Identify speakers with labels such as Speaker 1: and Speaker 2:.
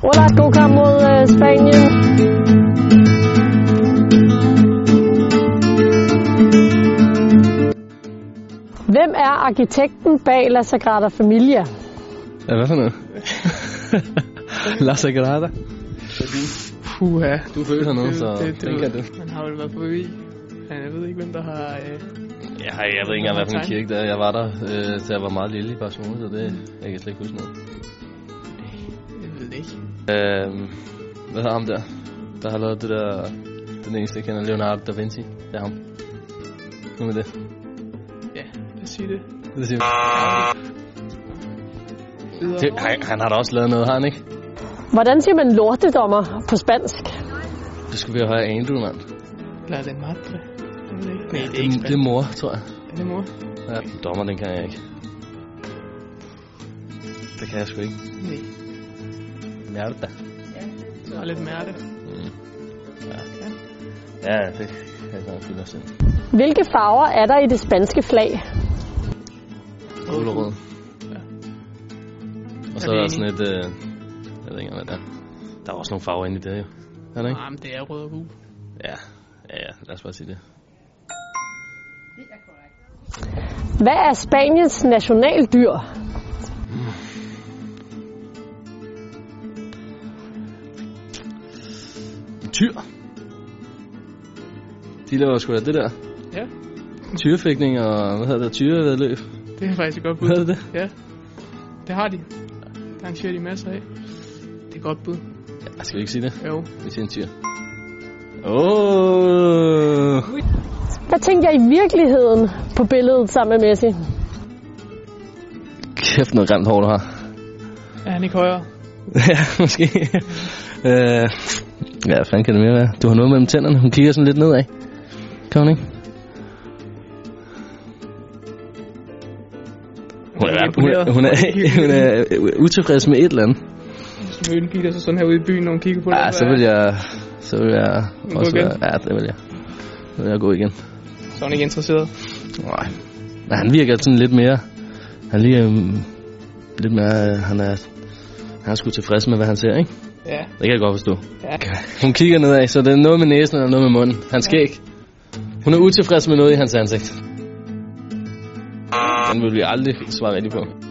Speaker 1: Hvor der er god mod øh, Spanien. Hvem er arkitekten bag La Sagrada Familia?
Speaker 2: Ja, hvad for noget? La Sagrada.
Speaker 3: Puha.
Speaker 2: Du føler noget, så
Speaker 3: det,
Speaker 2: den
Speaker 3: det,
Speaker 2: kan
Speaker 3: det,
Speaker 2: du.
Speaker 3: Man har vel været forbi. Ja, jeg ved ikke, hvem der har... Øh,
Speaker 2: Ja, jeg ved ikke engang, hvad for en kirke det er. Jeg var der, øh, da jeg var meget lille i Barcelona, så det jeg kan slet ikke huske noget.
Speaker 3: jeg ved det ikke.
Speaker 2: Øh, hvad hedder ham der? Der har lavet det der... Den eneste, jeg kender, Leonardo da Vinci. Det er ham. Nu med det.
Speaker 3: Ja, lad os sige det.
Speaker 2: Det siger vi.
Speaker 3: Videre.
Speaker 2: det han, han har da også lavet noget, har han ikke?
Speaker 1: Hvordan siger man lortedommer på spansk?
Speaker 2: Det skulle vi jo have af Andrew, mand.
Speaker 3: La den madre. Jeg ved det ikke. Nej, det er
Speaker 2: Det,
Speaker 3: ikke
Speaker 2: det
Speaker 3: spændt.
Speaker 2: er mor, tror jeg.
Speaker 3: Er det mor?
Speaker 2: Ja, dommer, den kan jeg ikke. Det kan jeg sgu ikke.
Speaker 3: Nej.
Speaker 2: Mærda.
Speaker 3: Så er lidt mærke.
Speaker 2: Mm. Ja. ja, det kan jeg godt finde os ind.
Speaker 1: Hvilke farver er der i det spanske flag?
Speaker 2: Gul og rød.
Speaker 3: Ja.
Speaker 2: Og så er der sådan et... Øh, jeg ved ikke, hvad det er. Der er også nogle farver inde i det, jo. Er der ikke?
Speaker 3: Ah, men det er rød og gul.
Speaker 2: Ja. Ja, ja. Lad os bare sige det.
Speaker 1: Hvad er Spaniens nationaldyr?
Speaker 2: Tyr. De laver sgu da det der.
Speaker 3: Ja.
Speaker 2: Tyrefægtning og... Hvad hedder det? Tyrevedløb.
Speaker 3: Det er faktisk et godt bud.
Speaker 2: Hvad er det?
Speaker 3: Ja. Det har de. Der arrangerer de masser af. Det er et godt bud.
Speaker 2: Ja, skal vi ikke sige det?
Speaker 3: Jo.
Speaker 2: Vi siger en tyr. Åh! Oh.
Speaker 1: Hvad tænker jeg i virkeligheden på billedet sammen med Messi?
Speaker 2: Kæft noget grimt hår, du har.
Speaker 3: Er han ikke højere?
Speaker 2: ja, måske. øh, ja, hvad fanden kan det mere være? Du har noget mellem tænderne. Hun kigger sådan lidt nedad. Kan hun ikke? Hun er, hun er, hun er, hun er utilfreds med et eller andet.
Speaker 3: Hvis du mødte en pige, der så sådan her ude i byen, når hun kigger på
Speaker 2: Ja,
Speaker 3: dig,
Speaker 2: så
Speaker 3: hvad-
Speaker 2: vil jeg... Så vil jeg
Speaker 3: Vil du
Speaker 2: også
Speaker 3: gå igen?
Speaker 2: være... Ja, det vil jeg. Så vil jeg gå igen.
Speaker 3: Så er hun ikke interesseret.
Speaker 2: Nej. Men han virker sådan lidt mere... Han lige... øhm, lidt mere... øh, Han er... Han er sgu tilfreds med, hvad han ser, ikke?
Speaker 3: Ja.
Speaker 2: Det kan jeg godt forstå.
Speaker 3: ja.
Speaker 2: Hun kigger nedad, så det er noget med næsen og noget med munden. Han skal ikke. Hun er utilfreds med noget i hans ansigt. Den vil vi aldrig svare rigtigt på.